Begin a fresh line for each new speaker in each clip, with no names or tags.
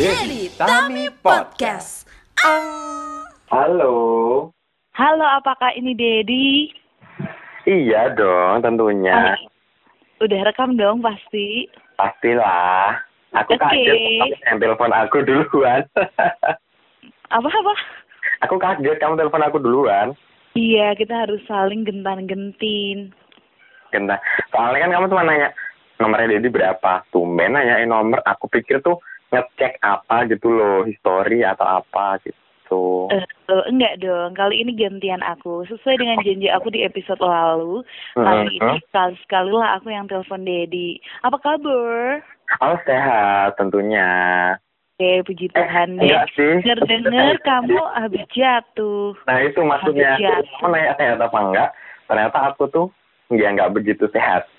Jerry Tami Podcast.
Halo.
Halo, apakah ini Dedi?
Iya dong,
Oh,
tentunya.
iya. Udah rekam dong pasti.
Pastilah. Aku
Oke.
kaget kamu yang telepon aku duluan.
Apa apa?
aku kaget kamu telepon aku duluan.
Iya, kita harus saling gentan-gentin.
Kena. Soalnya kan kamu cuma nanya nomornya Dedi berapa. Tumben nanyain nomor. Aku pikir tuh ngecek apa gitu loh, history atau apa gitu.
Eh, eh, enggak dong, kali ini gantian aku. Sesuai dengan janji aku di episode lalu, kali ini
Heeh.
sekali-sekali lah aku yang telepon Dedi. Apa kabar?
Oh sehat tentunya.
Eh, puji Tuhan deh.
enggak sih.
Dengar-dengar kamu habis jatuh.
Nah itu maksudnya.
Habis
Kamu nanya sehat apa enggak? Ternyata aku tuh ya nggak begitu sehat.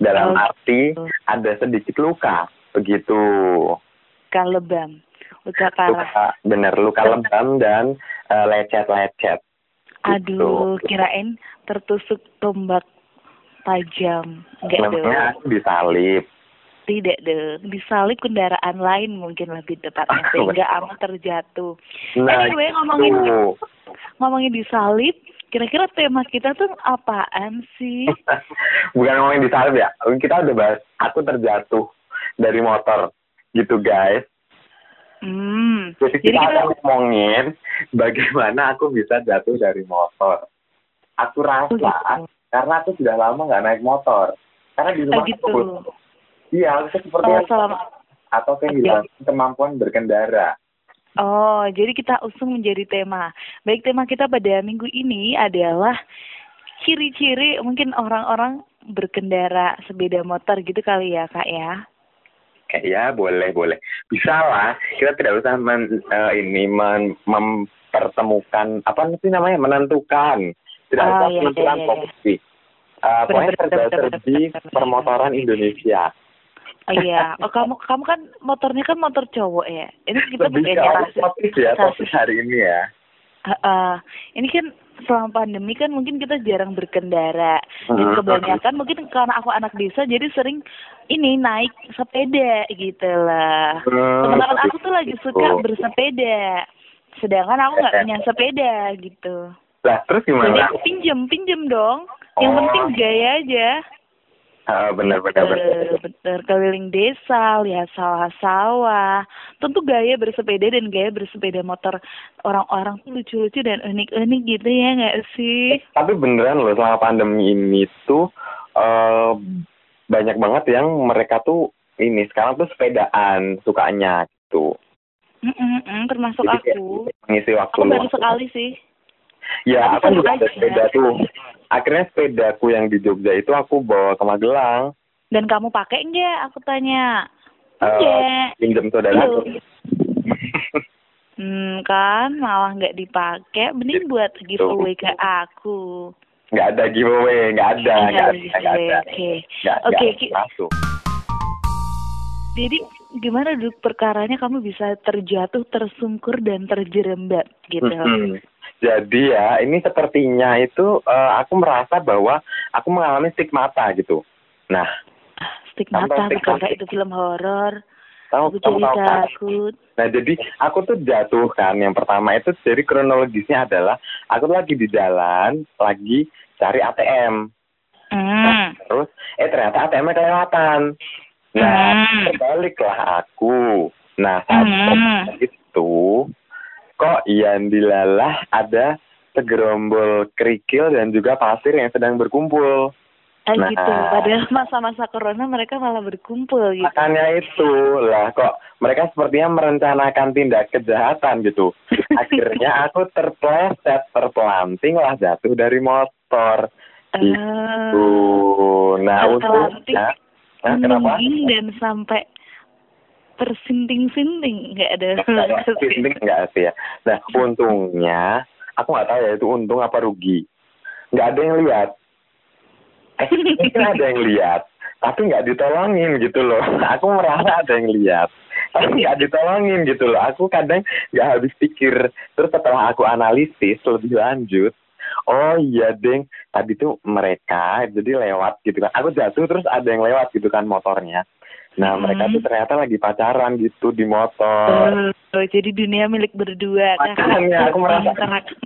Dalam
Oh,
arti
gitu.
ada sedikit luka begitu.
Luka lebam. Luka parah.
Luka bener luka lebam dan eh, lecet-lecet.
Aduh,
gitu.
kirain tertusuk tombak tajam. Enggak dong.
Memangnya aku disalib.
Tidak dong, disalib kendaraan lain mungkin lebih tepatnya sehingga aku terjatuh. Anyway,
Ah,
ngomongin
Nah, itu.
ngomongin disalib, kira-kira tema kita tuh apaan sih?
Bukan ngomongin disalib ya. Kita udah bahas aku terjatuh dari motor gitu guys. Eh.
Hmm,
Jadi
Jadi
kita
kita-
akan ngomongin bagaimana aku bisa jatuh dari motor. Aku rasa
oh gitu.
karena aku sudah lama nggak naik motor. Karena di rumah
Oh, gitu.
aku Iya, aku seperti
Oh, selama-
atau kehilangan kemampuan berkendara.
Oh, jadi kita usung menjadi tema. Baik, tema kita pada minggu ini adalah ciri-ciri mungkin orang-orang berkendara sepeda motor gitu kali ya, Kak ya.
Kayak ya boleh boleh bisa lah kita tidak usah men- eh, ini men- mempertemukan apa sih namanya menentukan tidak
Oh,
usah
iya,
menentukan
iya, iya, iya.
posisi Eh, pokoknya
Benar, benar, benar,
terjadi
benar, benar.
permotoran Indonesia
Oh iya, oh kamu kamu kan motornya kan motor cowok ya. Ini kita
lebih
bukannya
ke arah
ras-
topik ya
ras-
topik hari ini ya
Heeh. ini kan selama pandemi kan mungkin kita jarang berkendara. Dan
Mhm.
kebanyakan mungkin karena aku anak desa jadi sering ini naik sepeda gitu lah.
Hmm,
Teman-teman aku tuh lagi suka
gitu.
bersepeda. Sedangkan aku nggak punya sepeda gitu.
lah terus
Jadi
gimana
aku pinjem, pinjem dong. Yang
Oh.
penting gaya aja.
Eh, benar benar benar
Eh, Bener, keliling desa, lihat sawah-sawah. Tentu gaya bersepeda dan gaya bersepeda motor orang-orang tuh lucu-lucu dan unik-unik gitu ya nggak sih?
tapi beneran loh selama pandemi ini tuh eh, banyak banget yang mereka tuh ini sekarang tuh sepedaan sukanya gitu
Mm-mm-mm, termasuk
Jadi kayak gitu.
aku.
ngisi waktu
Aku
luang.
baru sekali sih.
ya
aku
aku
baru
juga ada
aja.
sepeda tuh akhirnya sepedaku yang di Jogja itu aku bawa ke Magelang
Dan kamu pakai nggak? Aku tanya.
Eh,
Enggak.
pinjam saudara aku
Belum. Hmm, kan malah nggak dipakai.
Iya,
Mending buat
gitu.
giveaway ke aku.
nggak ada giveaway nggak ada nggak ada nggak
Iya,
ada
Oke.
nggak
Oke,
nggak
Ki.
masuk
Jadi gimana duduk perkaranya kamu bisa terjatuh, tersungkur dan terjerembab gitu.
Mm-mm. Jadi ya, ini sepertinya itu eh, aku merasa bahwa aku mengalami stigmata gitu. Nah,
Stigmata,
Tambah
bukan
stigmata.
kayak itu film horor.
kamu,
Aku
kamu
jadi
tahu kan?
takut.
Nah, jadi aku tuh jatuh kan. Yang pertama itu jadi kronologisnya adalah aku tuh lagi di jalan, lagi cari ATM.
Hmm.
Terus, eh ternyata ATM-nya kelewatan. Nah,
Hmm.
terbaliklah aku. Nah, saat
Hmm.
itu, kok yang dilalah ada segerombol kerikil dan juga pasir yang sedang berkumpul.
Ah,
Nah.
gitu. Padahal masa-masa corona mereka malah berkumpul gitu.
Makanya itu lah kok mereka sepertinya merencanakan tindak kejahatan gitu. Akhirnya aku terpleset, terpelanting lah jatuh dari motor.
Eh,
Tuh, nah
terpelanting. Hmm.
untungnya, Nah, kenapa?
mengging Ah, dan sampai tersinting-sinting nggak ada.
Penting nggak sih ya? Nah untungnya, aku nggak tahu ya itu untung apa rugi. Nggak ada yang lihat. Eh, mungkin ada yang lihat, tapi nggak ditolongin gitu loh. Aku merasa ada yang lihat, tapi nggak ditolongin gitu loh. Aku kadang nggak habis pikir. Terus setelah aku analisis lebih lanjut, oh iya deng, tadi tuh mereka jadi lewat gitu kan. Aku jatuh terus ada yang lewat gitu kan motornya. Nah, mereka
Hmm.
tuh ternyata lagi pacaran gitu di motor.
Oh, jadi dunia milik berdua.
Makanya ya, aku merasa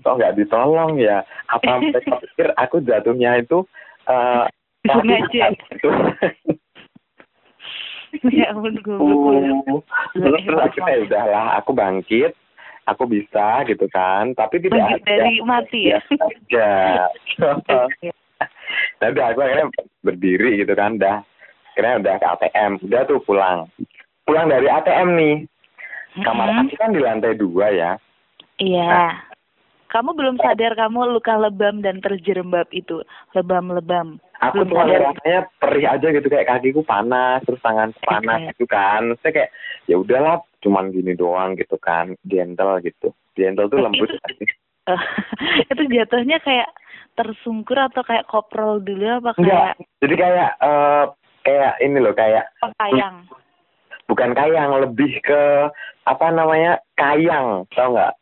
kok nggak ditolong ya. Apa mereka pikir aku jatuhnya itu eh
Sengaja.
itu.
Ya ampun,
Oh.
goblok.
Terus terus akhirnya ya udahlah, aku bangkit, aku bisa gitu kan. Tapi tidak
Bangkit dari mati ya?
Ya. Nah, udah aku akhirnya berdiri gitu kan, dah. Akhirnya udah ke ATM, udah tuh pulang. Pulang dari ATM nih. Kamar
Mm-mm.
aku kan di lantai dua ya. Nah.
Iya. Kamu belum sadar kamu luka lebam dan terjerembab itu. Lebam-lebam.
Aku tuh ya.
Belum sadar.
rasanya perih aja gitu kayak kakiku panas, terus tangan panas
Oke.
gitu kan. Saya kayak ya udahlah, cuman gini doang gitu kan, gentle gitu. Gentle tuh
Tapi
lembut.
itu jatuhnya kayak tersungkur atau kayak koprol dulu apa kayak
Enggak. Jadi kayak eh kayak ini loh kayak
pakaian?
bukan kayang lebih ke apa namanya kayang tau nggak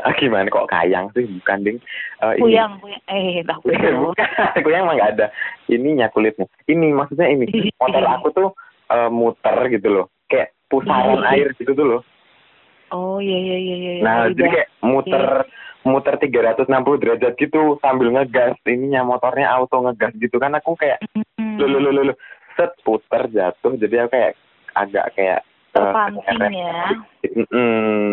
gimana kok kayang sih bukan ding Eh, ini.
Kuyang, kuyang. Eh, tak kuyang.
Iya, bukan kuyang emang nggak ada ininya kulitnya ini maksudnya ini motor aku tuh eh, muter gitu loh kayak pusaran
Iya.
air gitu tuh loh
Oh, iya iya iya iya.
nah
iya.
jadi kayak muter muter 360 derajat gitu sambil ngegas ininya motornya auto ngegas gitu kan aku kayak
Mm-mm.
lo lo lo set puter jatuh jadi aku kayak agak kayak eh,
Terpancing
terseret.
ya.
Mm-mm.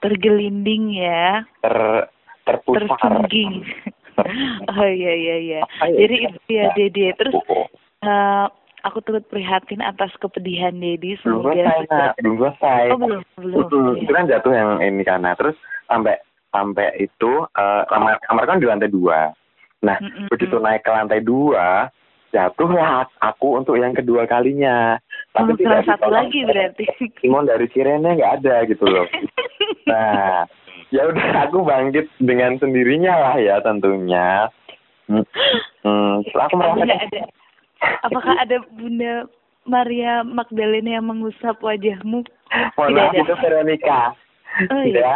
tergelinding ya,
ter terpusar
tersungging. oh iya iya iya.
Apa ya?
Jadi itu ya Dede. Terus
Oh, oh.
eh, aku turut prihatin atas kepedihan Dedi.
belum
Semoga
selesai nak belum selesai
Oh belum belum.
Mm-mm.
Iya.
itu kan jatuh yang ini karena terus sampai sampai itu eh, kamar kamar kan di lantai dua nah
Mm-mm.
begitu naik ke lantai dua jatuhlah aku untuk yang kedua kalinya tapi
Oh,
tidak
salah satu
ditolong.
lagi berarti.
Simon dari Cirene nggak ada gitu loh nah ya udah aku bangkit dengan sendirinya lah ya tentunya Hmm, hmm, terus aku merasa
Apakah ada, apakah ada Bunda Maria Magdalena yang mengusap wajahmu?
Mohon
Tidak
maaf
ada.
itu Veronica.
Oh,
ya.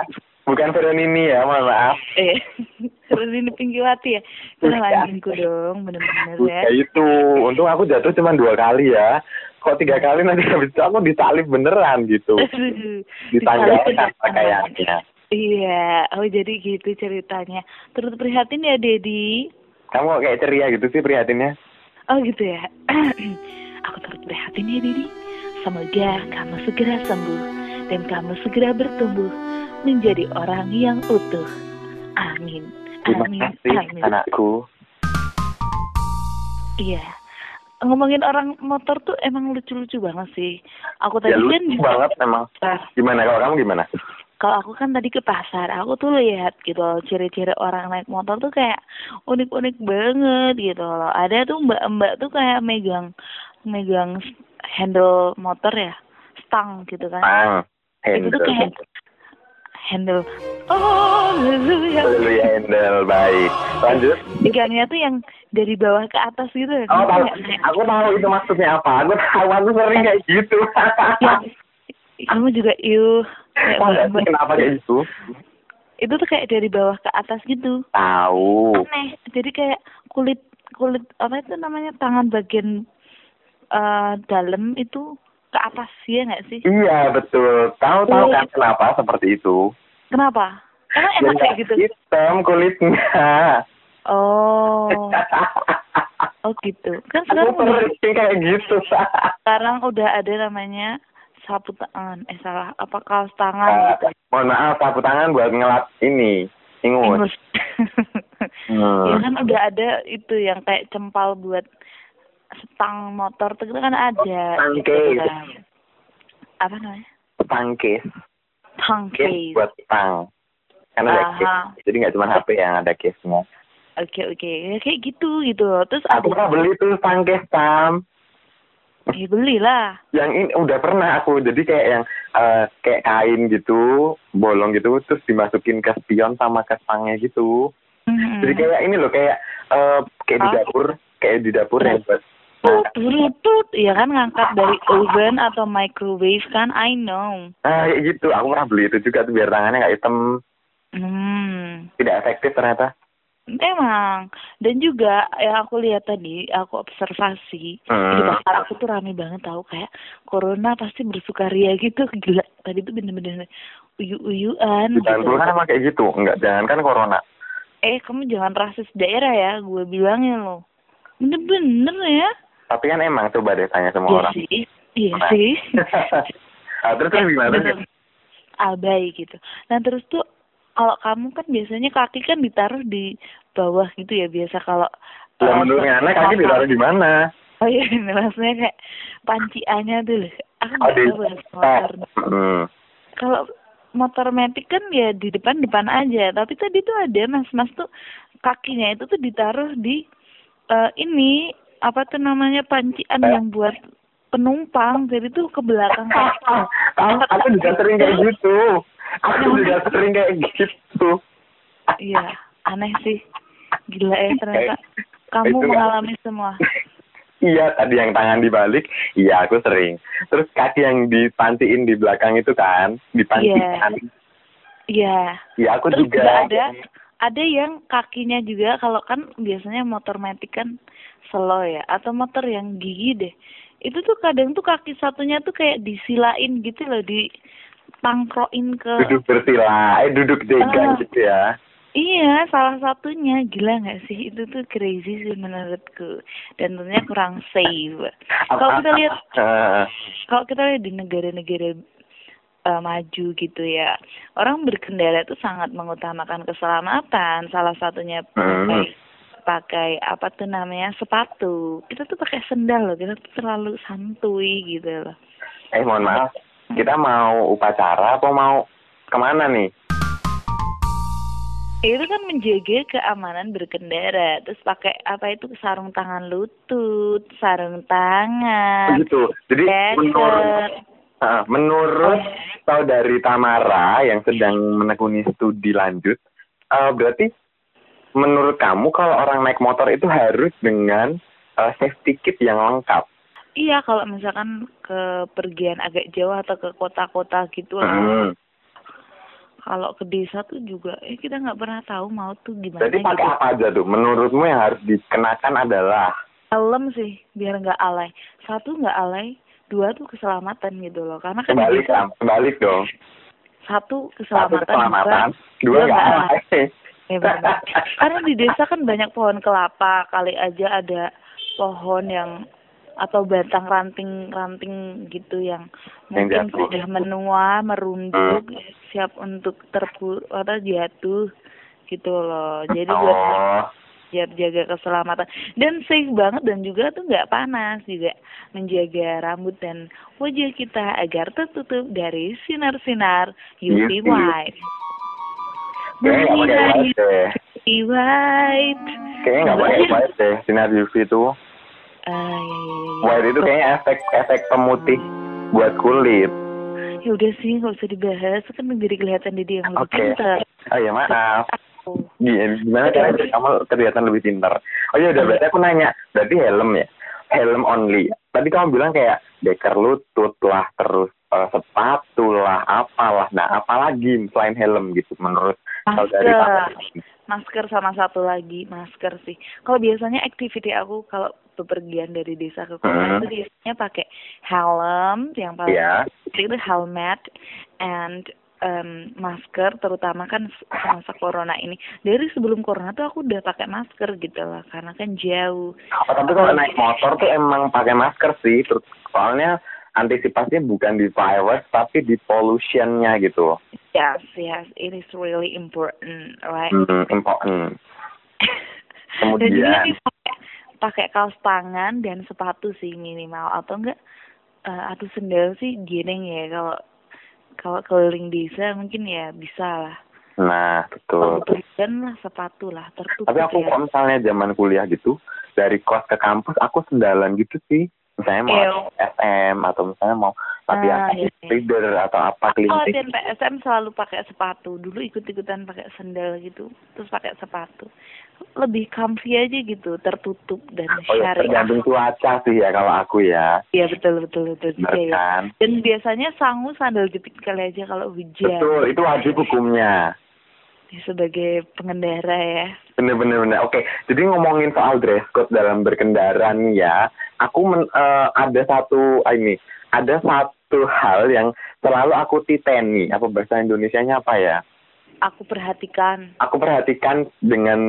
Bukan Veronini ya, mohon maaf.
Eh, Renini Pinggiwati ya? Kenal
Bukan.
anjingku dong, bener-bener ya.
Ya itu, untung aku jatuh cuma dua kali ya. Kok tiga kali nanti habis itu aku disalib beneran gitu.
Aduh,
Ditanggalkan
disalahkan.
pakaiannya.
Iya, oh jadi gitu ceritanya. Turut prihatin ya, Dedi.
Kamu kok kayak ceria gitu sih prihatinnya?
Oh gitu ya. Aku turut prihatin ya, Dedi. Semoga kamu segera sembuh dan kamu segera bertumbuh menjadi orang yang utuh. Amin.
Terima
Amin.
kasih
Amin.
anakku.
Iya. Ngomongin orang motor tuh emang lucu-lucu banget sih. Aku tadi
Ya
kan
lucu banget emang.
Nah,
Gimana kalau kamu gimana?
kalau aku kan tadi ke pasar, aku tuh lihat gitu loh, ciri-ciri orang naik motor tuh kayak unik-unik banget gitu loh. Ada tuh mbak-mbak tuh kayak megang megang s- handle motor ya, stang gitu kan.
Bang.
Itu
Handle.
tuh kayak handle. Oh, haleluya.
Dulu ya handle baik. Lanjut.
Pegangnya tuh yang dari bawah ke atas gitu. ya.
Oh, tahu.
Kayak- kayak-
Aku tahu itu maksudnya apa. Aku tahu aku sering kayak gitu.
Ya, kamu juga iu. Kayak
Tahu nggak sih
mbak-mbak.
kenapa kayak gitu?
Itu tuh kayak dari bawah ke atas gitu.
Tahu.
aneh jadi kayak kulit kulit apa itu namanya tangan bagian eh dalam itu ke atas ya nggak sih
Iya betul. Tahu tahu kan kenapa seperti itu?
kenapa Iya. emang enak kayak
Biar
gitu
Hitam kulitnya.
oh oh gitu kan
Aku
sekarang udah,
sering kayak gitu.
sekarang udah ada namanya sapu tangan eh salah apa kaos tangan
Ah,
gitu
Mohon maaf, sapu tangan buat ngelap ini. Ingus.
Ingus.
Hmm.
ya kan udah ada itu yang kayak cempal buat stang motor tuh kan ada
Stang
gitu
case.
kan. apa namanya
Tangkis.
tang
Kis
case
buat tang. Karena ada
Aha.
kis. Jadi nggak cuma HP yang ada kisnya.
Oke oke Ya, kayak gitu gitu loh. terus
Aku pernah
ada
beli tuh tangkis tam.
ya, belilah
Yang ini udah pernah aku. Jadi kayak yang eh, kayak kain gitu, bolong gitu, terus dimasukin ke spion sama ke stangnya gitu.
Mhm.
Jadi kayak ini loh kayak eh, kayak di
Ah. Nah.
dapur, kayak di dapur yang buat
tut tut, tut ya kan ngangkat dari oven atau microwave kan I know
ah kayak gitu. Aku pernah beli itu juga tuh biar tangannya nggak hitam,
hmm
tidak efektif ternyata.
Emang. Dan juga yang aku lihat tadi, aku observasi,
Hmm.
di Makassar aku tuh rame banget tahu kayak corona pasti bersukaria gitu. Gila, tadi tuh bener-bener uyu-uyuan
Di Bantul kan
gitu.
emang kayak gitu. Enggak, jangan kan corona.
Eh, kamu jangan rasis daerah ya, gue bilangin loh. Bener-bener ya.
Tapi kan emang coba deh tanya semua
Iya
orang.
sih. Iya
Nah.
sih.
Ah, terus terus gimana?
Bener. Abai gitu. Nah, terus tuh kalau kamu kan biasanya kaki kan ditaruh di bawah gitu ya biasa kalau
Lah
eh,
menurut Ngana kaki
apa-
ditaruh di mana?
Oh iya, maksudnya kayak panciannya tuh loh.
Oh,
Aku nggak
di
tahu bahasa motor.
Hmm.
Kalau motor metik kan ya di depan-depan aja. Tapi tadi tuh ada mas-mas tuh kakinya itu tuh ditaruh di eh, ini apa tuh namanya pancian
Eh.
yang buat penumpang. Jadi tuh ke belakang kaki.
aku, aku juga sering kayak gitu. Aku juga sering kayak gitu.
Iya, aneh sih. Gila ya ternyata
Eh,
kamu
itu nggak-
mengalami semua.
Iya, tadi yang tangan dibalik, iya aku sering. Terus kaki yang dipantiin di belakang itu kan, dipantikan.
Iya.
Iya, aku
Terus
juga.
juga ada eh, ada yang kakinya juga kalau kan biasanya motor metik kan slow ya atau motor yang gigi deh. Itu tuh kadang tuh kaki satunya tuh kayak disilain gitu loh di pangkroin ke
Duduk bersila, eh duduk
Ah.
degan gitu ya.
Iya, salah satunya gila nggak sih? Itu tuh crazy sih menurutku dan tentunya kurang safe. Kalau kita lihat
Ah,
kalau kita lihat di negara-negara eh, maju gitu ya orang berkendara itu sangat mengutamakan keselamatan salah satunya
Hmm.
pakai pakai apa tuh namanya sepatu kita tuh pakai sendal loh kita tuh terlalu santuy gitu loh
eh mohon maaf, kita mau upacara apa mau kemana nih?
itu kan menjaga keamanan berkendara terus pakai apa itu sarung tangan lutut sarung tangan
Begitu. Oh, gitu. Jadi menurut,
jacket
ah, menurut saudari Tamara yang sedang menekuni studi lanjut, eh, berarti menurut kamu kalau orang naik motor itu harus dengan eh, safety kit yang lengkap.
iya kalau misalkan ke pergian agak jauh atau ke kota-kota gitu loh
Hmm.
kalau ke desa tuh juga eh kita nggak pernah tahu mau tuh gimana
Jadi pakai
gitu.
apa aja tuh? Menurutmu yang harus dikenakan adalah
Helm sih biar nggak alay satu nggak alay dua tuh keselamatan gitu loh karena kan di
kebalik,
desa
Sam. kebalik dong. Satu
satu keselamatan, Iya,
keselamatan,
dua
dua nggak
nggak
alay.
Ya, benar. karena di desa kan banyak pohon kelapa kali aja ada pohon yang atau batang ranting-ranting gitu yang
Yang
mungkin
jatuh. Hmm.
sudah menua merunduk siap untuk terpur atau jatuh gitu loh jadi buat
Oh,
biar jaga keselamatan dan safe banget dan juga tuh nggak panas juga menjaga rambut dan wajah kita agar tertutup dari sinar-sinar UV
Yes, kayaknya nggak pakai white
light. Bersinar
deh.
UV light.
Kayaknya nggak pakai
Bersinar-
white deh. Sinar UV itu.
Ah, ya, ya, ya, ya.
White itu kayaknya efek efek pemutih
Hmm.
buat kulit.
Ya udah sih nggak usah dibahas kan menjadi kelihatan dia yang lebih
Oke.
pintar.
Oh ya maaf.
Oh,
Gi- Gimana cara biar kamu kelihatan lebih pintar? Oh ya udah berarti aku nanya. Berarti helm ya? Helm only. Tadi kamu bilang kayak deker lutut lah, terus eh, sepatu lah, apalah. Nah apalagi selain helm gitu menurut saudari
Masker.
kamu?
masker sama satu lagi masker sih. Kalau biasanya activity aku kalau bepergian dari desa ke kota
Hmm.
itu biasanya pakai helm yang paling
Iya.
itu helmet and em, masker terutama kan se- masa corona ini. Dari sebelum corona tuh aku udah pakai masker gitu lah karena kan jauh.
Oh, tapi kalau naik motor tuh emang pakai masker sih. Terus soalnya antisipasinya bukan di virus tapi di pollution-nya gitu.
Yes, yes, it is really important, right?
Hmm, important.
dan juga
Kemudian.
nih pakai- pakai kaos tangan dan sepatu sih minimal atau enggak eh, aduh sendal sih geneng ya kalau kalau keliling desa mungkin ya bisa lah
Nah,
kalau
betul.
kebutuhan lah sepatu lah tertutup
Tapi aku
ya.
kalau misalnya zaman kuliah gitu, dari kos ke kampus aku sendalan gitu sih. Misalnya mau
Ew.
SM atau misalnya mau latihan
Iya. Ah, iya, iya.
leader atau apa
Oh,
klinik.
dan PSM selalu pakai sepatu. Dulu ikut-ikutan pakai sendal gitu, terus pakai sepatu. Lebih comfy aja gitu, tertutup dan
Oh ya,
syariah.
tergantung cuaca sih ya kalau aku ya.
Iya, betul betul betul
Bener
juga ya.
kan?
Dan biasanya sangu sandal jepit kali aja kalau hujan.
Betul, itu wajib hukumnya.
ya, sebagai pengendara ya.
Bener-bener. bener. Oke, jadi ngomongin soal dress code dalam berkendara nih ya, aku men- eh, ada satu ah, ini, ada satu hal yang selalu aku titeni. Apa bahasa Indonesianya apa ya?
Aku perhatikan
Aku perhatikan dengan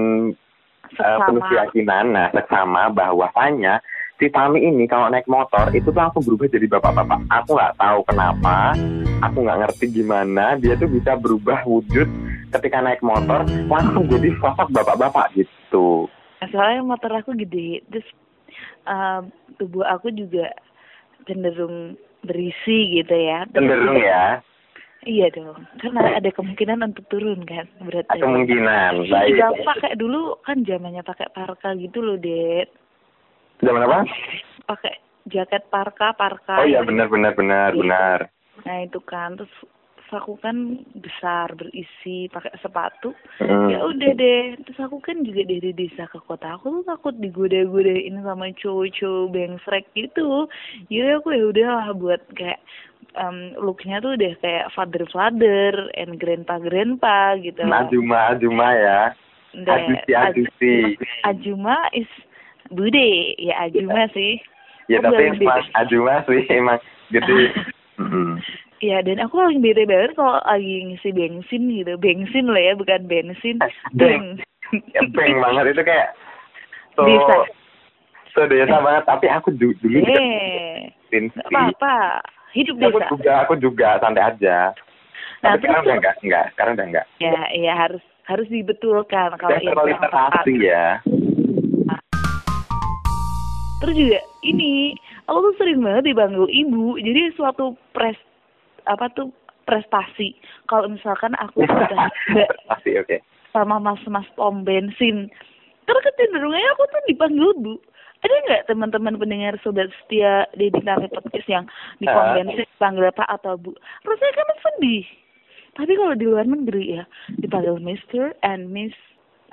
eh, penuh
seksama.
keyakinan, nah seksama bahwasanya si Tami ini kalau naik motor itu tuh langsung berubah jadi bapak-bapak. Aku nggak tahu kenapa, aku nggak ngerti gimana dia tuh bisa berubah wujud ketika naik motor langsung jadi sosok bapak-bapak gitu.
Nah, Soalnya motor aku gede, terus eh, tubuh aku juga cenderung berisi gitu ya. Terus
Cenderung
juga-
ya,
Iya dong, karena ada kemungkinan untuk turun kan berat badan.
kemungkinan. iya. Baik.
Kita Iya. pakai dulu kan zamannya pakai parka gitu loh, Dek.
Zaman apa?
Pakai jaket parka, parka.
Oh iya benar benar benar benar.
Nah, itu kan terus aku kan besar, berisi, pakai sepatu.
Hmm.
Ya udah deh, terus aku kan juga dari desa ke kota. Aku tuh takut digoda-godain sama cowok-cowok bengsrek gitu. Jadi aku ya udahlah buat kayak em looknya tuh udah kayak father-father and grandpa-grandpa gitu. lah.
Ajuma Ajuma ya.
Udah,
Ajusi,
Aj-
ajusi.
Ajuma is bude, ya Ajuma sih.
Ya
Aku
tapi
gitu. paling bete.
emang Ajuma sih emang hmm. gede. Mm-mm.
Ya dan aku paling bete banget kalau lagi ngisi bensin gitu. Bensin lah ya, bukan bensin.
Beng. Ya, Beng banget itu kayak so
Desa.
so desa banget tapi aku ju- dulu juga
Eh,
bikin
nggak
sih.
apa-apa. Hidup
Aku
desa.
juga aku juga santai aja.
Nah,
Tapi sekarang
terus-
udah enggak enggak sekarang udah enggak.
Ya, ya harus harus dibetulkan kalau iya
Udah
yang
terlalu
kurang tepat.
ya.
Terus juga ini, aku tuh sering banget dipanggil ibu. Jadi suatu pres apa tuh prestasi. Kalau misalkan aku udah
Pasti oke.
sama mas-mas pom bensin. Karena kecenderungannya aku tuh dipanggil Bu. Ada nggak teman-teman pendengar sobat setia di Dinami Podcast yang di pom
Ah.
bensin panggil Pak atau Bu? Rasanya kan sedih. Tapi kalau di luar negeri ya, dipanggil Mister and Miss.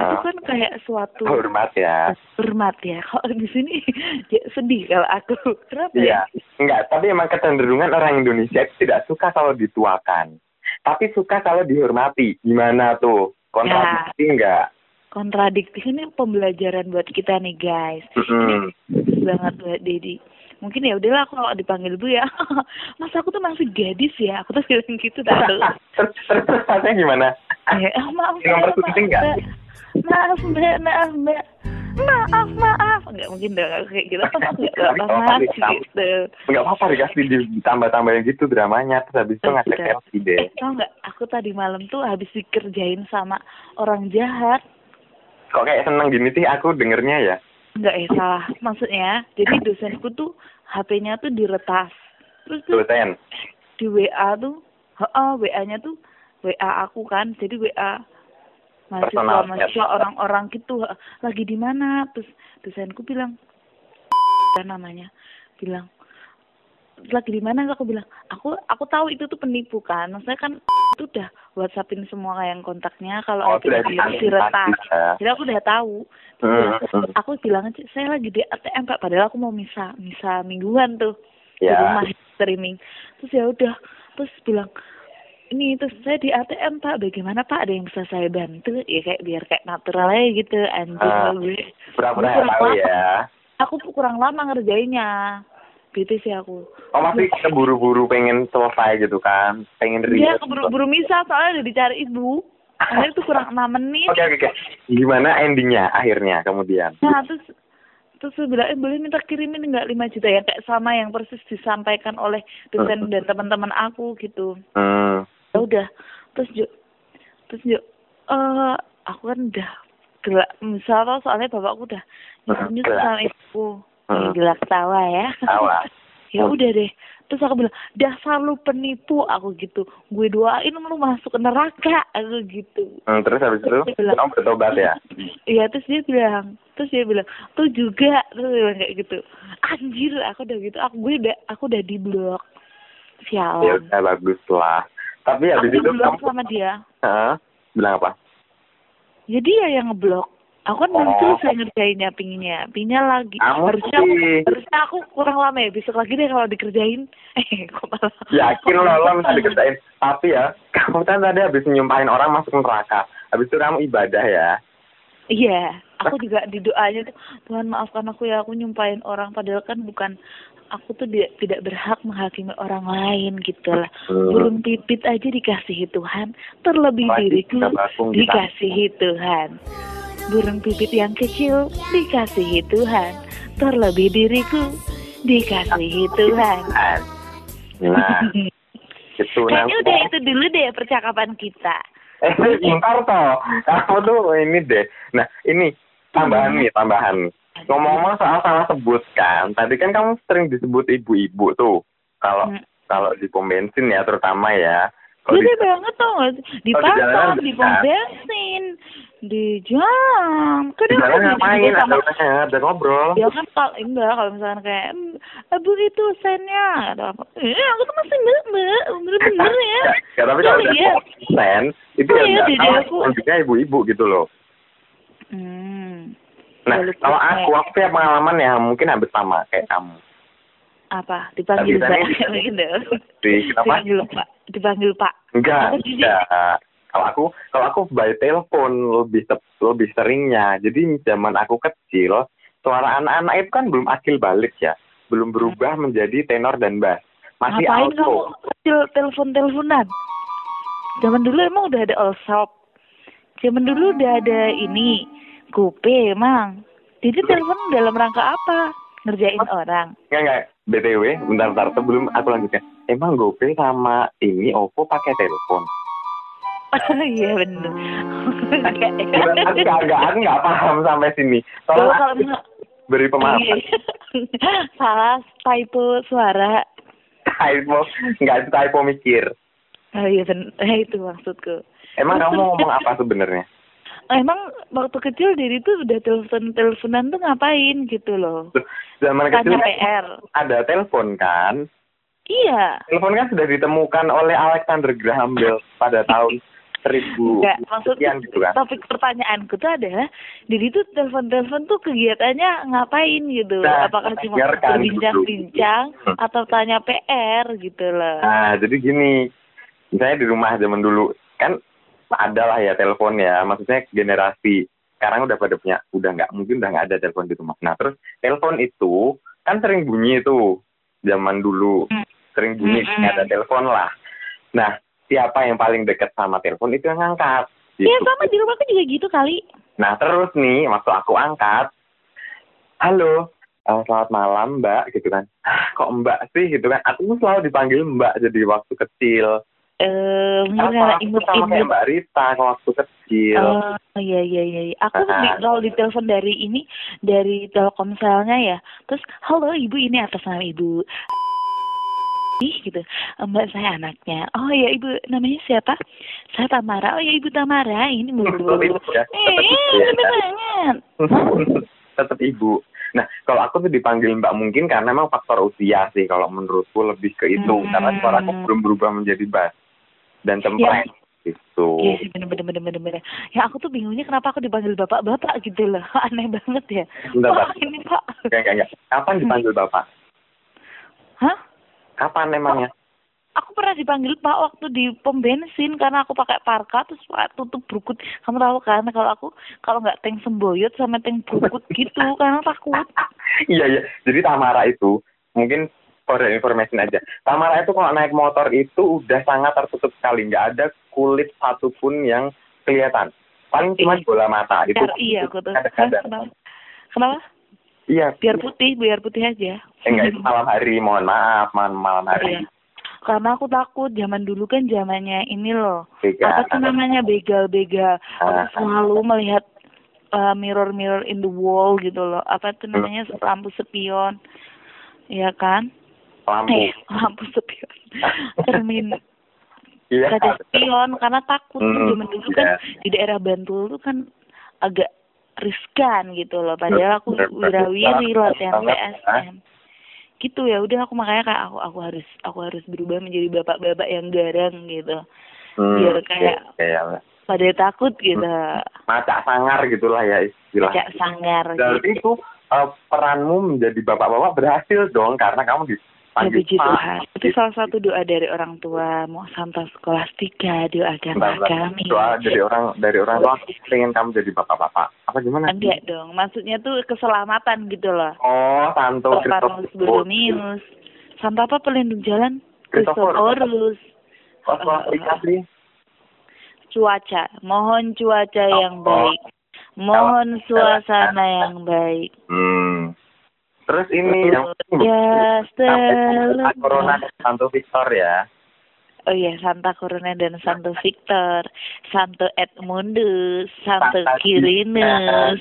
Itu
Ah.
kan kayak suatu
Hormat ya.
hormat ya. Kalau di sini ya sedih kalau aku. Kenapa ya?
Iya, enggak. Tapi emang kecenderungan orang Indonesia itu tidak suka kalau dituakan, tapi suka kalau dihormati. Gimana tuh? Kontradiksi enggak?
Kontradiktif ini pembelajaran buat kita nih guys.
Mm-mm.
Bagus banget buat Dedi. Mungkin ya udahlah aku kalau dipanggil Bu ya. Mas aku tuh masih gadis ya. Aku tuh bilang gitu tadi.
Terus terus rasanya gimana?
Ya, ah, maaf,
Ini nomor
maaf,
tuh penting nggak?
Mbak. Maaf, Mbak, maaf, Mbak. Maaf, maaf. Enggak mungkin dong aku kayak gitu. Maaf, Enggak apa-apa,
Tapi kalau
Mas.
kamu-
Gitu.
Enggak apa-apa dikasih di- ditambah-tambahin gitu dramanya. Terus habis itu ngajak
Gitu.
selfie deh.
Eh, tau nggak? Aku tadi malam tuh habis dikerjain sama orang jahat.
Kok kayak seneng gini sih aku dengernya ya?
Enggak ya salah. Maksudnya, jadi dosenku tuh HP-nya tuh diretas. Terus tuh
Dosen.
di WA tuh, heeh, WA-nya tuh WA aku kan. Jadi WA mahasiswa
Personal,
mahasiswa
ya.
orang-orang gitu ha, lagi di mana? Terus dosenku bilang kan namanya bilang lagi di mana aku bilang aku aku tahu itu tuh penipu kan maksudnya kan itu udah whatsappin semua yang kontaknya kalau
Oh,
ada
sudah
Iya, di-
diantisipasi,
diretas
ya.
jadi aku udah tahu
Hmm,
Terus aku bilang aja saya lagi di ATM pak padahal aku mau misa misa mingguan tuh di
Ya.
rumah streaming terus ya udah terus bilang ini terus saya di ATM pak bagaimana pak ada yang bisa saya bantu ya kayak biar kayak natural aja gitu anjing
Ah,
lah gue
Pura-pura
Aku
nggak tahu
lama-
ya.
aku tuh kurang lama ngerjainnya bete sih aku
Oh masih keburu-buru pengen selesai gitu kan? Pengen
dia
rilis.
Iya, keburu-buru misa soalnya udah dicari ibu akhirnya tuh kurang enam menit
Oke oke oke. Gimana endingnya akhirnya kemudian?
Nah, terus terus dia bilang, eh boleh minta kirimin nggak 5 juta ya kayak sama yang persis disampaikan oleh dosen dan teman-teman aku gitu.
Hmm.
Ya udah, terus Ju, terus Ju, eh aku kan udah gelak misalnya soalnya bapakku udah nyusun
Gelak.
sama ibuku.
Hmm.
Ya, gelak tawa ya.
Tawa.
ya udah deh. Terus aku bilang, dasar lu penipu aku gitu. Gue doain lu masuk neraka aku gitu.
Hmm, terus habis itu
Dia bilang-
kamu bertobat ya?
Iya terus dia bilang, terus dia bilang, tuh juga terus dia bilang kayak gitu. Anjir, aku udah gitu, aku gue udah aku udah di blok.
Ya
Sialan.
udah bagus lah. Tapi
Oh.
habis
Aku di
itu
blok
kamu
sama dia.
Hah? bilang apa?
Ya dia yang ngeblok. Aku kan belum selesai ngerjainnya pinginnya. Pinginnya lagi.
Oh. Kamu
harusnya,
sih.
harusnya aku kurang lama ya. Besok lagi deh kalau dikerjain. Eh, kok malah.
Yakin loh, lo bisa dikerjain. Tapi ya, kamu kan tadi habis nyumpahin orang masuk neraka. Habis itu kamu ibadah ya.
Iya, aku juga di doanya tuh Tuhan maafkan aku ya aku nyumpahin orang padahal kan bukan aku tuh tidak tidak berhak menghakimi orang lain gitu lah.
Betul.
Burung pipit aja dikasihi Tuhan, terlebih
Apalagi
diriku
kita bakung di
dikasihi Tuhan. Burung pipit yang kecil dikasihi Tuhan, terlebih diriku dikasihi Tuhan.
Nah, itu
Kayaknya
nanti.
udah itu dulu deh percakapan kita.
Eh, bentar toh. Kamu tuh ini deh. Nah, ini tambahan nih, tambahan. Ngomong-ngomong soal salah sebut kan. Tadi kan kamu sering disebut ibu-ibu tuh. Kalau
Hmm.
kalau di pom bensin ya terutama ya. Kalau di-
Gede banget tau nggak sih? Di
Kalau di
pasar,
jalanan
di
bisa.
pom bensin, Kan di jalan.
di
Kadang
jalan
aku
ngapain?
juga
Ada
sama
orangnya, ada ngobrol.
Ya kan kalau enggak kalau misalkan kayak "Mm, Abu itu sennya atau apa? Eh, aku tuh masih mbak mbak bener-bener ya.
Ya, tapi kalau
Sorry
udah
ya.
konsen, itu
Oh,
ya
iya,
nggak
jadi
tahu
aku-
lanjutnya ibu-ibu gitu loh.
Hmm.
Nah,
Lalu
kalau
kayak,
aku, aku punya pengalaman yang mungkin hampir sama kayak kamu.
apa dipanggil
Tapi
Mbak
misalnya-
gitu.
Di- kenapa?
Dipanggil Pak. Dipanggil Pak.
Enggak,
Apa sih, Di?
enggak. Kalau aku, kalau aku by telepon lebih tep- lebih seringnya. Jadi zaman aku kecil, suara anak-anak itu kan belum akil balik ya, belum berubah menjadi tenor dan bass. Masih
Hmm. Ngapain
alto.
kamu kecil telepon-teleponan? Zaman dulu emang udah ada all shop. Zaman dulu udah ada ini, GoPay emang. Jadi telepon dalam rangka apa? Ngerjain orang.
Enggak, enggak. BTW, bentar, bentar, sebelum aku lanjutkan. Emang GoPay sama ini Oppo pakai telepon?
Iya bener.
Hmm. Aku enggak, enggak, aku enggak paham sampai sini.
Kalau Iya.
Tolong
kalau
aku
misal-
beri pemahaman.
salah typo suara.
Typo, enggak itu typo mikir.
Oh iya bener, itu maksudku.
Emang
Terus-
kamu ngomong apa sebenarnya?
Emang waktu kecil diri tuh udah telepon-teleponan tuh ngapain gitu loh.
Loh, Zaman kecil
Tanya E.
kan
PR.
ada telepon kan?
Iya.
Telepon kan sudah ditemukan oleh Alexander Graham Bell pada tahun 1000
Enggak, maksudnya
sekian gitu kan.
topik pertanyaanku tuh adalah diri tuh telepon-telepon tuh kegiatannya ngapain gitu. loh.
Nah,
Apakah cuma
biarkan
berbincang-bincang
dulu.
atau tanya PR gitu loh.
Nah, jadi gini, misalnya di rumah zaman dulu kan ada lah ya telepon ya, maksudnya generasi sekarang udah pada punya, udah nggak mungkin udah nggak ada telepon di rumah. Nah terus telepon itu kan sering bunyi itu zaman dulu
Hmm.
sering bunyi
Mm-mm.
nggak ada telepon lah. Nah siapa yang paling dekat sama telepon itu yang ngangkat. gitu.
Iya sama di rumahku juga gitu kali.
Nah terus nih waktu aku angkat, halo, eh, selamat malam mbak gitu kan. "Hah, Kok mbak sih gitu kan? Aku tuh selalu dipanggil mbak jadi waktu kecil.
Eh,
Karena
mengira
aku sama kayak
inget-inget.
mbak Rita kalau waktu kecil.
Oh iya iya iya. iya. Aku
Ah.
di- kalau ditelepon dari ini dari Telkomselnya ya. Terus halo Ibu ini atas nama Ibu. Ih gitu. Mbak saya anaknya. Oh ya Ibu namanya siapa? Saya Tamara. Oh ya Ibu Tamara ini. Eh,
Ibu ya, tetap ibu ya.
bener banget. Oh.
Tetap ibu. Nah, kalau aku tuh dipanggil mbak mungkin karena memang faktor usia sih. Kalau menurutku lebih ke itu.
Hmm.
Karena suaraku belum berubah menjadi bass. Dan cempreng.
Iya
Gitu.
sih bener bener bener bener bener. Ya aku tuh bingungnya kenapa aku dipanggil bapak bapak gitu loh. Aneh banget ya.
Bentar,
Wah,
Pak.
ini pak.
Enggak, enggak, enggak. Kapan dipanggil bapak?
Hah?
Kapan emangnya?
aku pernah dipanggil pak waktu di pom bensin karena aku pakai parka terus pakai tutup brukut kamu tahu kan kalau aku kalau nggak tank semboyot sama tank brukut gitu karena takut
Iya iya. Jadi Tamara itu mungkin for your information aja. Tamara itu kalau naik motor itu udah sangat tertutup sekali, nggak ada kulit satupun yang kelihatan. Paling cuma
Iya.
bola mata itu.
biar iya aku tuh Hah,
Kadang-kadang.
kenapa kenapa
Iya.
biar putih biar putih aja
Eh, Enggak itu malam hari. Mohon maaf, malam, malam
Iya.
hari.
karena aku takut zaman dulu kan zamannya ini loh
Begal.
apa sih namanya begal-begal
Iya, Ah.
aku selalu melihat uh, mirror mirror in the wall gitu loh apa tuh namanya
Hmm.
lampu sepion ya kan
Lampu.
eh lampu sepion cermin
Iya.
kaca spion karena takut
Hmm,
zaman dulu kan
iya.
di daerah Bantul tuh kan agak riskan gitu loh padahal aku
Bener, bener.
wirawiri loh yang
Banget, eh.
PSM gitu ya udah aku makanya kayak aku aku harus aku harus berubah menjadi bapak-bapak yang garang gitu
Hmm,
biar kayak-
iya, iya.
pada takut gitu
macak sangar gitulah ya istilahnya.
agak sangar
Dari
gitu.
itu eh, peranmu menjadi bapak-bapak berhasil dong karena kamu
Ya,
dipanggil
puji
Pak.
Tuhan. Itu salah satu doa dari orang tua. Mau Santa Skolastika doakanlah
Bentar, bentar.
ya, kami.
Doa dari orang dari orang tua pengen kamu jadi bapak-bapak. Apa gimana?
Enggak Iya dong. Maksudnya tuh keselamatan gitu loh.
Oh, Santo
Perpanus Borromeus. Santa apa pelindung jalan?
Christopher.
Christophorus.
Oh, Sekolah Serikat sih.
Cuaca. Mohon cuaca
Oh,
yang baik. Mohon
Kalau-
suasana yang baik.
Hmm. Terus ini yang
Ya,
Sampai corona
selalu.
Santo Victor ya.
Oh iya, Santa Corona dan Santo Victor, Santo Edmundus, Santo
Santa Timnas.
Quirinus,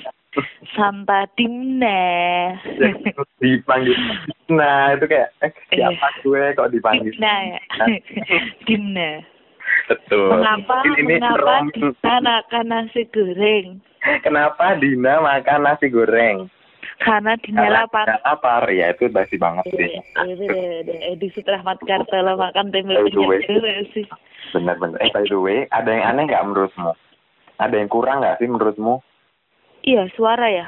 Santa Timna.
Yang dipanggil nah itu kayak eh, siapa
Iya.
gue kok dipanggil
Timna ya. Timna.
betul
Mengapa
Mungkin ini
mengapa
rom-
kita makan nasi goreng?
kenapa Dina makan nasi goreng
Karena
Karena
dinyala pan.
dia lapar ya itu basi banget sih
Iya, Edi Rahmat Kartela eh, makan tempe
By the way.
penyet goreng sih.
bener-bener eh by the way ada yang aneh nggak menurutmu ada yang kurang nggak sih menurutmu
Iya, suara ya.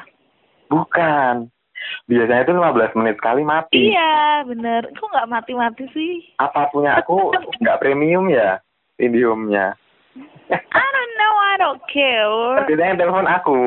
bukan biasanya itu 15 menit sekali mati
Iya, bener. Kok nggak mati-mati sih?
apa punya aku nggak premium ya indiumnya
I don't know, I don't care.
Biasanya yang telepon aku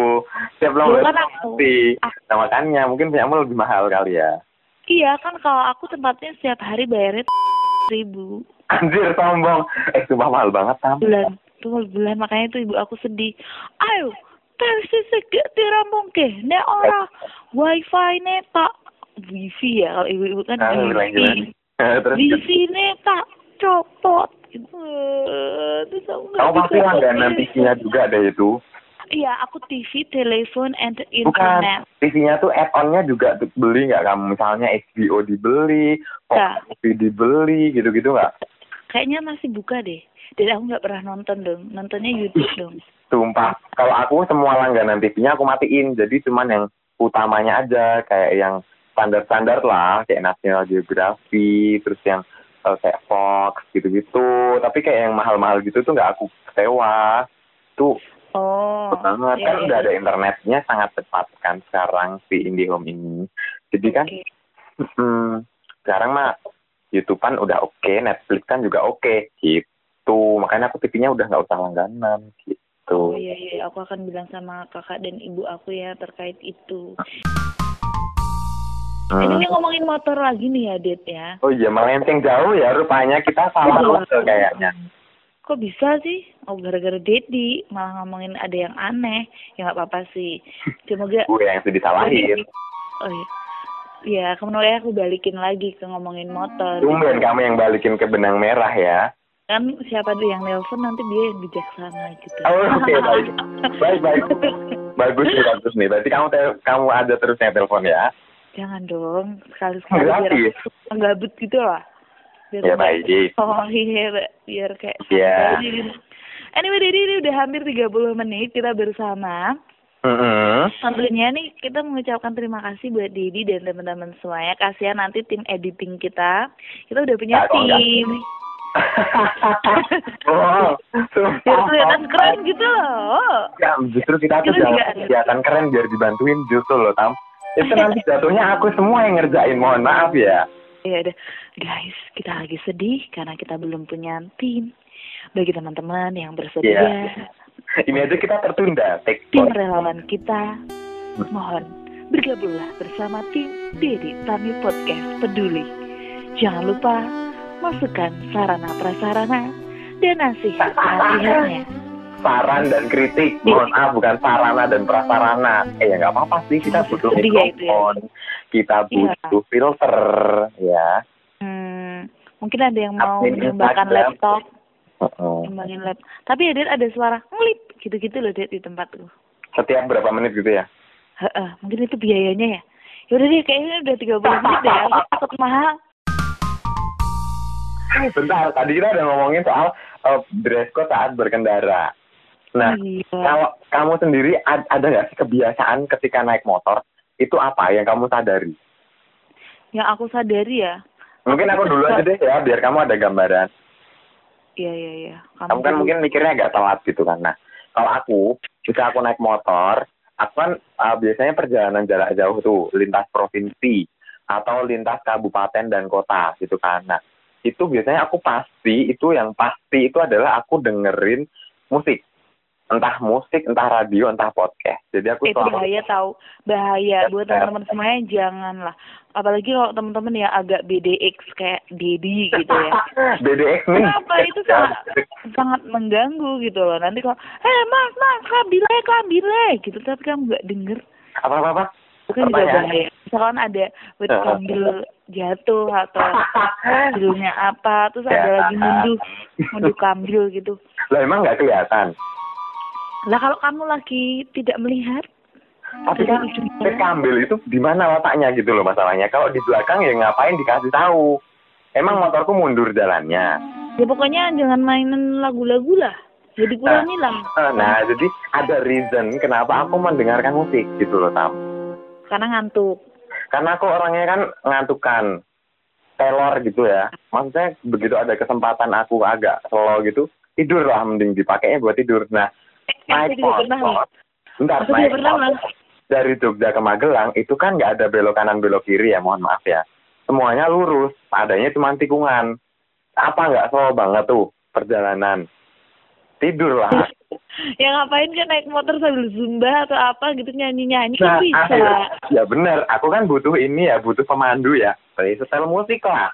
Setiap lomba
Telepon
itu
kan aku.
mati Nah makanya mungkin punyamu lebih mahal kali ya
Iya kan kalau aku tempatnya setiap hari bayarnya ribu
Anjir sombong Eh sumpah mahal banget Tam
bulan tuh bulan makanya tuh ibu aku sedih. Ayo tensi segak dirampung ke nek ora wifi ne tak wifi ya kalau ibu-ibu kan
Nah, bilang gimana?
wifi
Terus
wifi ne tak copot gitu. Terus aku nggak
kamu pasti
bisa
langganan
beli.
TV-nya ya juga deh itu
Iya aku TV, telepon, and
Bukan
internet.
TV-nya tuh add-on-nya juga tuh beli nggak kamu Misalnya HBO dibeli Fox
Nggak.
TV dibeli gitu-gitu nggak
Kayaknya masih buka deh. Dan aku nggak pernah nonton dong. Nontonnya YouTube dong.
Sumpah Kalau aku semua langganan TV-nya aku matiin Jadi cuman yang utamanya aja Kayak yang standar-standar lah Kayak National Geography Terus yang eh, kayak Fox gitu-gitu Tapi kayak yang mahal-mahal gitu tuh nggak aku sewa Tuh
Oh.
Cepet banget
iya,
kan
iya.
udah ada internetnya sangat cepat kan sekarang si IndiHome ini jadi kan
Oke.
mm, sekarang mah YouTube kan udah oke Netflix kan juga oke gitu makanya aku TV-nya udah nggak usah langganan gitu
Oh iya iya, aku akan bilang sama kakak dan ibu aku ya terkait itu.
Hmm.
Ini ngomongin motor lagi nih ya, Det ya.
oh iya melenceng jauh ya rupanya kita salah
Iya.
rute kayaknya
Kok bisa sih? Oh gara-gara Dedi malah ngomongin ada yang aneh. Ya nggak apa-apa sih. Cuma gak.
gue yang sedih salahin
Oh iya. Ya, kemudian aku balikin lagi ke ngomongin motor.
Tumben kamu yang balikin ke benang merah ya.
Kan siapa tuh yang nelpon nanti dia yang bijaksana gitu.
Oh, oke, baik. Baik, baik. Bagus nih, bagus nih. Berarti kamu tel- kamu ada terusnya telepon ya.
Jangan dong, sekali-sekali biar
Gratis.
aku gabut gitu lah. Biar
Ya,
nggak-
baik.
Oh iya, Mbak. biar kayak
Iya.
santai. gitu. Anyway, jadi ini udah hampir 30 menit kita bersama.
Mm-mm.
Tentunya nih kita mengucapkan terima kasih buat Dedi dan teman-teman semuanya. Kasihan nanti tim editing kita. Kita udah punya
Ah, kalau nggak-
tim.
oh,
Biar
sumpah.
kelihatan keren gitu loh.
Ya, justru kita tuh
Kita
jangan
juga-
kelihatan keren biar dibantuin justru loh Tam. Itu nanti jatuhnya aku semua yang ngerjain, mohon maaf ya.
Ya udah, guys, kita lagi sedih karena kita belum punya tim. Bagi teman-teman yang bersedia,
Iya. Ini aja kita tertunda, take
tim
call.
relawan kita, mohon bergabunglah bersama tim Dedi Tami Podcast Peduli. Jangan lupa masukkan sarana prasarana dan nasihat nasihatnya.
Saran dan kritik, mohon maaf bukan sarana dan prasarana. Eh ya nggak apa-apa sih, kita butuh
Sedih ya Iya. itu ya.
mikrofon, kita butuh filter, ya.
Hmm, mungkin ada yang mau
Admin
menyumbangkan
Instagram.
laptop,
Mm-mm.
nyumbangin lap. Tapi ada ada suara ngelip gitu-gitu loh Ded, di tempat lu.
Setiap berapa menit gitu ya?
Heeh, mungkin itu biayanya ya. Yaudah deh, kayaknya udah 30 menit deh. Aku takut mahal.
Eh, Bentar, tadi kita udah ngomongin soal eh, dress code saat berkendara. Nah,
iya.
kalau kamu sendiri ad- ada nggak sih kebiasaan ketika naik motor itu apa yang kamu sadari?
Yang aku sadari ya,
Mungkin aku dulu aja deh ya, biar kamu ada gambaran.
Iya iya iya.
Kamu kan mungkin mikirnya agak telat gitu kan. Nah, kalau aku, jika aku naik motor, aku kan uh, biasanya perjalanan jarak jauh tuh, lintas provinsi atau lintas kabupaten dan kota gitu kan. Nah, itu biasanya aku pasti, itu yang pasti itu adalah aku dengerin musik. Entah musik, entah radio, entah podcast. Jadi aku
Eh, itu
selama
bahaya tahu bahaya
Ya,
buat
ya.
teman-teman semuanya janganlah apalagi kalau teman-teman yang agak BDX kayak Dedi gitu ya
BDX nih.
kenapa itu sangat sangat mengganggu gitu loh nanti kalau eh mas mas kabile kabile gitu tapi kamu nggak denger
Apa apa apa?
itu kan juga
Pertanyaan.
bahaya misalkan ada buat
Ya.
sambil jatuh atau judulnya apa terus ada
Ya.
lagi munduh munduh kambil gitu
Lah emang nggak kelihatan.
lah kalau kamu lagi tidak melihat
Tapi
Iya.
kan
Ujungnya.
Ted Kambil itu di mana letaknya gitu loh masalahnya. Kalau di belakang ya ngapain dikasih tahu. Emang motorku mundur jalannya.
ya pokoknya jangan mainan lagu-lagu lah jadi kurang hilang
Eh, Nah, jadi ada reason kenapa aku mendengarkan musik gitu loh, Tam.
karena ngantuk
Karena aku orangnya kan ngantukan telor gitu ya. Maksudnya begitu ada kesempatan aku agak slow gitu, tidur lah mending dipakainya buat tidur. Nah,
aku
naik
juga pernah nih.
motor. Bentar,
Aku juga
naik
pernah,
motor.
Mas.
Dari Jogja ke Magelang itu kan nggak ada belok kanan belok kiri ya, mohon maaf ya. Semuanya lurus, adanya cuma tikungan. Apa nggak slow banget tuh perjalanan? Tidur lah.
ya ngapain kan naik motor sambil zumba atau apa gitu nyanyi-nyanyi
Nah,
kan bisa
akhirnya, ya benar. Aku kan butuh ini ya, butuh pemandu ya. Play setel musik lah.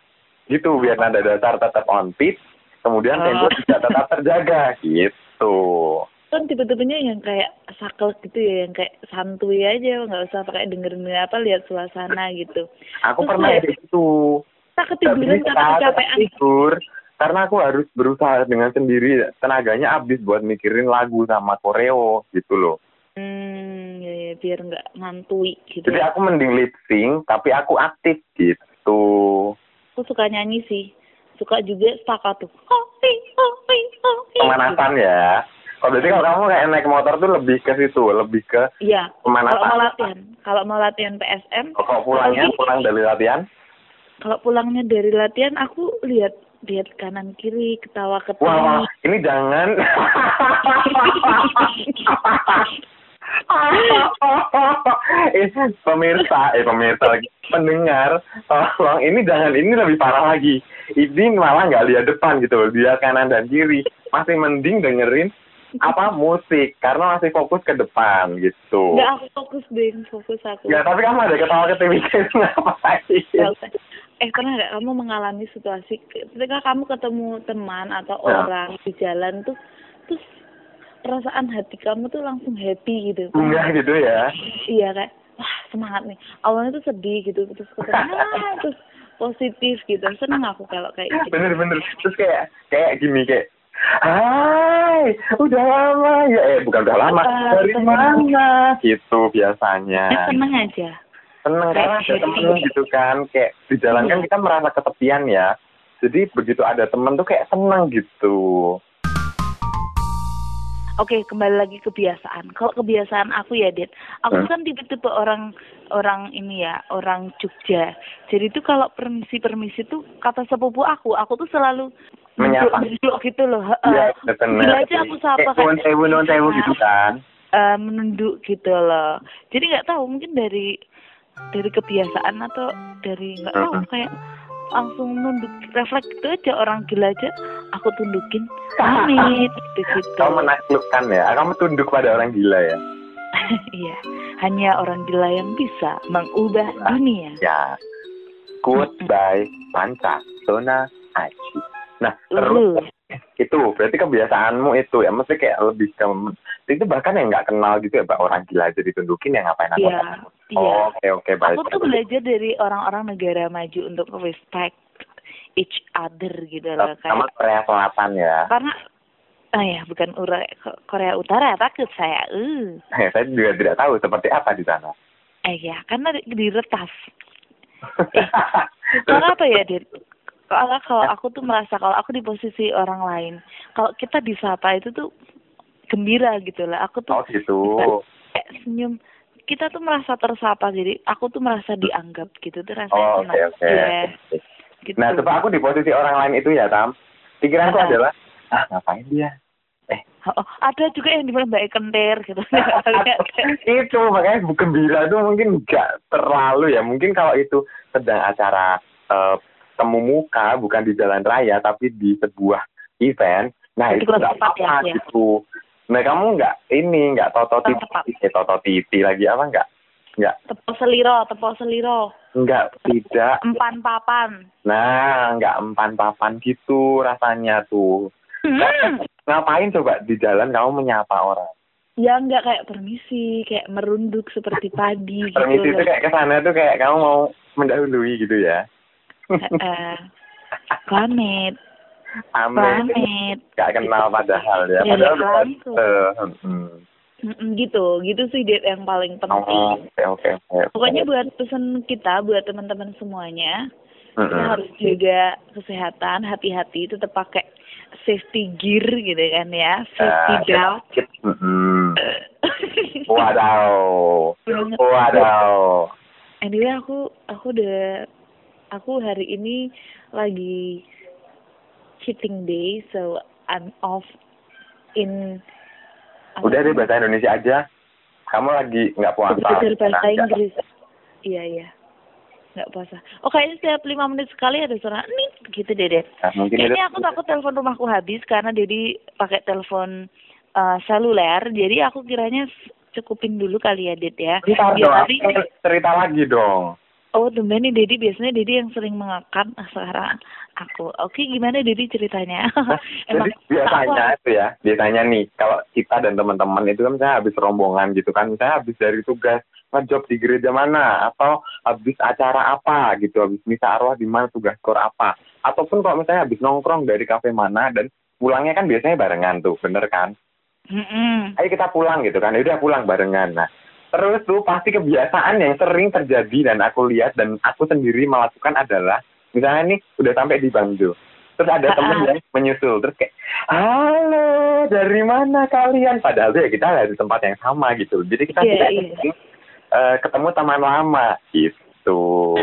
Gitu, biar nada dasar tetap on pitch. Kemudian
Oh.
tempo juga tetap terjaga. Gitu.
kan tipe-tipenya yang kayak saklek gitu ya yang kayak santuy aja nggak usah pakai dengerin apa lihat suasana gitu
Aku
Terus
pernah
ya,
kayak gitu.
tak ketiduran
Nggak
karena
bisa,
kecapean
tetap tidur. Karena aku harus berusaha dengan sendiri. Tenaganya habis buat mikirin lagu sama koreo gitu loh.
hmm ya, ya, biar nggak ngantui gitu
Jadi
ya.
aku mending lip sync, tapi aku aktif gitu.
aku suka nyanyi sih suka juga staccato oh eh, oh eh, oh eh, gitu.
Pemanasan ya. Kalau berarti kalau kamu kayak naik motor tuh lebih ke situ, lebih ke
Iya.
Pemanasan.
Kalau mau latihan, kalau mau latihan PSM,
Oh, Kalau pulangnya,
Tapi-
pulang dari latihan,
kalau pulangnya dari latihan aku lihat lihat kanan kiri ketawa
wah,
ketawa.
wah, ini jangan. eh, pemirsa, eh pemirsa lagi, pendengar, tolong ini jangan ini lebih parah lagi. Ini malah nggak lihat depan gitu loh, dia kanan dan kiri. Masih mending dengerin apa musik karena masih fokus ke depan gitu.
Enggak aku fokus deh, fokus aku.
Ya, tapi kamu ada ketawa ketiwikan
Nggak
ngapain?
usah. Eh pernah nggak kamu mengalami situasi ketika kamu ketemu teman atau
Ya.
orang di jalan tuh terus perasaan hati kamu tuh langsung happy gitu.
Enggak gitu ya.
Iya kayak wah semangat nih. Awalnya tuh sedih gitu terus ketemu "Ah," terus positif gitu. Seneng aku kalau kayak gitu.
bener-bener terus kayak kayak gini kayak Hai, udah lama ya? Eh, bukan udah lama.
Apa?
Dari mana? Gitu biasanya.
Ya, seneng aja.
Seneng karena ada temen gitu kan. Kayak di jalan
Iya.
kan kita merasa ketepian ya. Jadi begitu ada temen tuh kayak seneng gitu.
Oke, kembali lagi kebiasaan. Kalau kebiasaan aku ya, Dit. Aku
Hmm.
kan tipe-tipe orang orang ini ya, orang Jogja. Jadi itu kalau permisi-permisi tuh kata sepupu aku, aku tuh selalu
Menyapa.
menunduk gitu loh.
Iya,
heeh.
bener.
Gila aja aku Iya. sapa
Kayak "Nuhun sewu, nuhun sewu gitu kan.
Eh, menunduk gitu loh. Jadi nggak tahu mungkin dari dari kebiasaan atau dari nggak tahu
Hmm.
kayak langsung nunduk refleks gitu aja orang gila aja aku tundukin pamit gitu gitu
Kamu menaklukkan ya. Kamu tunduk pada orang gila ya.
Iya, hanya orang gila yang bisa mengubah
Ah.
dunia.
ya goodbye pancasona aji nah terus
Terus,
itu berarti kebiasaanmu itu ya mesti kayak lebih ke itu bahkan yang nggak kenal gitu ya Mbak, orang gila aja ditundukin ya ngapain aku
iya, iya.
Oh, oke oke baik
Aku tuh belajar dari orang-orang negara maju untuk respect each other gitu loh
sama
kayak.
Korea Selatan ya
Karena ah ya bukan Ura- Ko- Korea Utara takut saya. Uh.
saya juga tidak tahu seperti apa di sana
Eh ya, karena di- diretas. Eh. Karena apa ya, Dit? Kalau kalau aku tuh merasa kalau aku di posisi orang lain, kalau kita disapa itu tuh gembira gitu lah. Aku tuh
oh gitu
kayak senyum kita tuh merasa tersapa jadi aku tuh merasa dianggap gitu tuh rasanya
oh oke
senang
oke
Iya, gitu
Nah, coba aku di posisi orang lain itu ya, Tam. Pikiranku
Ah.
adalah ah ngapain dia
Oh, ada juga yang dimana Mbak Ekentir gitu.
itu makanya bu gembira itu mungkin nggak terlalu ya mungkin kalau itu sedang acara eh, temu muka bukan di jalan raya tapi di sebuah event nah
Di
itu
kelas
nggak
empat ya,
apa
iya.
gitu nah kamu nggak ini nggak toto
Kelas
titi eh, toto titi lagi apa nggak
tepol seliro, tepol seliro.
nggak tidak
Empan papan.
nah nggak empan papan gitu rasanya tuh
Hmm.
ngapain coba di jalan kamu menyapa orang
Ya enggak kayak permisi, kayak merunduk seperti padi gitu.
permisi itu kayak kesana tuh kayak kamu mau mendahului gitu ya
Eh, Heeh. Planet,
Amin.
planet.
Gak kenal padahal ya.
Ya,
Padahal
ya,
bukan.
itu.
Eh, hmm.
Mm-mm, gitu, gitu sih Dep yang paling
Oh,
penting.
Oke oke. oke.
Pokoknya buat pesan kita, buat teman-teman semuanya,
Mm-mm.
kita harus jaga kesehatan, hati-hati, tetap pakai safety gear gitu kan ya, safety
Eh,
belt.
sakit. Mm-mm. Waduh. Waduh.
Anyway aku aku udah aku hari ini lagi cheating day so I'm off in apa
Udah deh
namanya?
bahasa Indonesia aja. Kamu lagi nggak puasa.
belajar bahasa
Nah,
Inggris. Iya iya. Nggak puasa. Oh kayaknya setiap lima menit sekali ada suara nit gitu deh deh.
Nah, mungkin itu-
Kayaknya aku takut telepon rumahku habis karena jadi pakai telepon eh, seluler. Jadi aku kiranya cukupin dulu kali ya Ded ya.
Bentar
Biar
dong,
nanti-
aku cerita lagi dong.
Oh, temen nih Dedi biasanya Dedi yang sering mengakam Nah, sekarang aku. Oke, gimana Dedi ceritanya?
Jadi biasanya itu ya, biasanya nih kalau kita dan teman-teman itu kan saya habis rombongan gitu kan, saya habis dari tugas ngejob di gereja mana atau habis acara apa gitu, habis misa arwah di mana tugas kor apa, ataupun kalau misalnya habis nongkrong dari kafe mana dan pulangnya kan biasanya barengan tuh, bener kan?
Mm-mm.
Ayo kita pulang gitu kan, Ya udah pulang barengan. Nah, terus tuh pasti kebiasaan yang sering terjadi dan aku lihat dan aku sendiri melakukan adalah misalnya nih udah sampai di Bandung terus ada
Ah,
temen
ah.
yang menyusul terus kayak halo dari mana kalian padahal tuh ya kita dari tempat yang sama gitu jadi kita
Iya,
tidak
iya.
sering, eh, ketemu teman lama gitu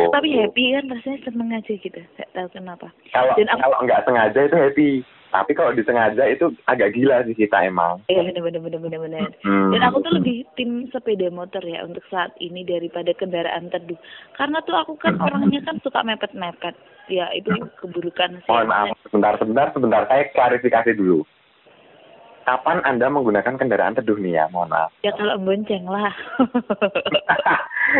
Tapi happy kan rasanya seneng aja gitu. Gak tahu kenapa.
kalau
dan aku-
kalau nggak sengaja itu happy tapi kalau disengaja itu agak gila sih kita emang
Iya, bener bener bener bener bener.
Hmm.
Dan aku tuh lebih tim sepeda motor ya untuk saat ini daripada kendaraan teduh. Karena tuh aku
Hmm.
kan orangnya kan suka mepet-mepet. Ya, itu keburukan sih.
mohon maaf sebentar sebentar sebentar saya klarifikasi dulu kapan anda menggunakan kendaraan teduh nih ya mohon maaf
Ya kalau bonceng lah.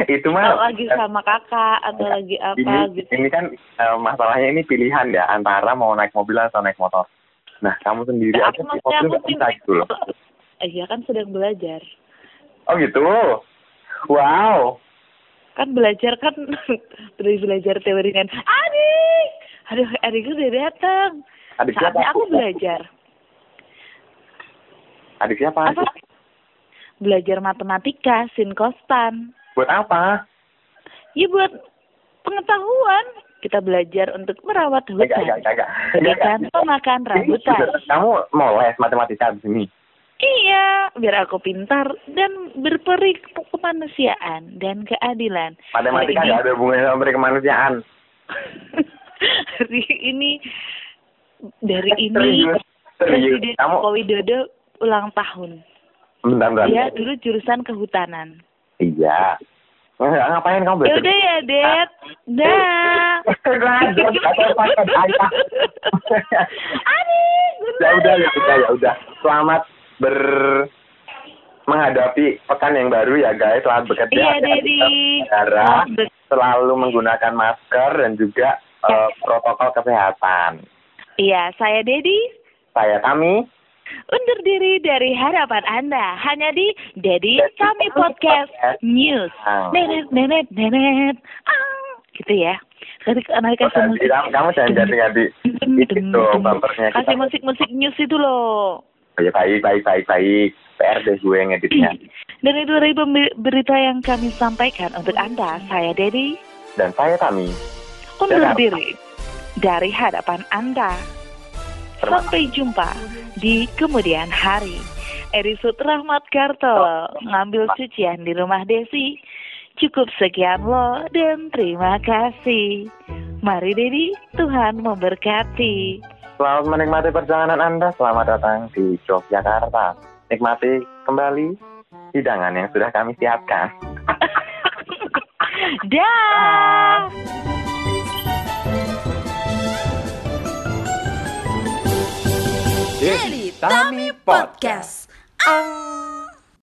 itu mah
kalau lagi sama kakak atau lagi apa
ini,
gitu.
ini kan eh, masalahnya ini pilihan ya antara mau naik mobil atau naik motor. Nah, kamu sendiri
Ya,
aja di
aku maksudnya
mobil
aku
nggak bisa
tim-
gitu loh.
Eh, Iya kan sedang belajar.
Oh gitu. Wow.
Kan belajar kan dari belajar teori kan. Adik, aduh adikku udah datang.
Adik siapa?
Saatnya aku belajar.
Adik siapa?
Apa? Belajar matematika, sin kostan.
Buat apa?
Ya buat pengetahuan. Kita belajar untuk merawat
Enggak, enggak,
hutan.
enggak, enggak. Enggak, enggak.
Bagaimana pemakan
Ini
rambutan.
bener, Kamu mau les matematika di sini?
Iya, biar aku pintar dan berperi ke- kemanusiaan dan keadilan.
Matematika
Hari ini-
nggak ada hubungannya sama peri kemanusiaan.
hari ini dari ini
Serius, serius.
Presiden
Kamu,
Joko Widodo ulang tahun.
bentar, bentar.
Dia dulu jurusan kehutanan.
Iya. Nggak, ngapain kamu belajar?
Ya udah ya, Det. Dah. Adik,
ya
bener.
udah ya udah ya udah selamat ber menghadapi pekan yang baru ya guys selamat bekerja
Iya,
hati-hati
Dedi.
sama negara
Selamat ber- Ya.
selalu menggunakan masker dan juga eh, protokol kesehatan
Iya, saya Dedi
saya kami
undur diri dari harapan Anda hanya di Dedi Kami Podcast News.
Ah.
Nenet nenet nenet. Ah, gitu ya. Kasih naik kasih
kamu
musik.
kamu jangan jadi ganti itu dong bumpernya
Kasih
kita
musik-musik news itu loh.
ya, baik baik baik baik PR deh gue ngeditnya
Dan itu dari pembe- berita yang kami sampaikan untuk Anda. Saya Dedi,
dan saya kami
undur
Dadah.
diri dari hadapan Anda.
Terima
Sampai jumpa di kemudian hari. Erisut Rahmat Kartolo ngambil cucian di rumah Desi. Cukup sekian lo dan terima kasih. Mari Dedi, Tuhan memberkati.
Selamat menikmati perjalanan Anda. Selamat datang di Yogyakarta. Nikmati kembali hidangan yang sudah kami siapkan.
Dah.
Daily Tami Podcast. Ah.